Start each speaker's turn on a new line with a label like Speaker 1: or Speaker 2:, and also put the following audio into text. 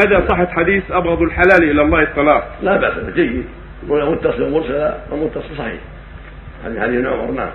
Speaker 1: مدى صحة حديث أبغض الحلال إلى الله الطلاق
Speaker 2: لا باس به جيد يقول متصل مرسلا ومتصل صحيح هذه حديث ابن عمر نعم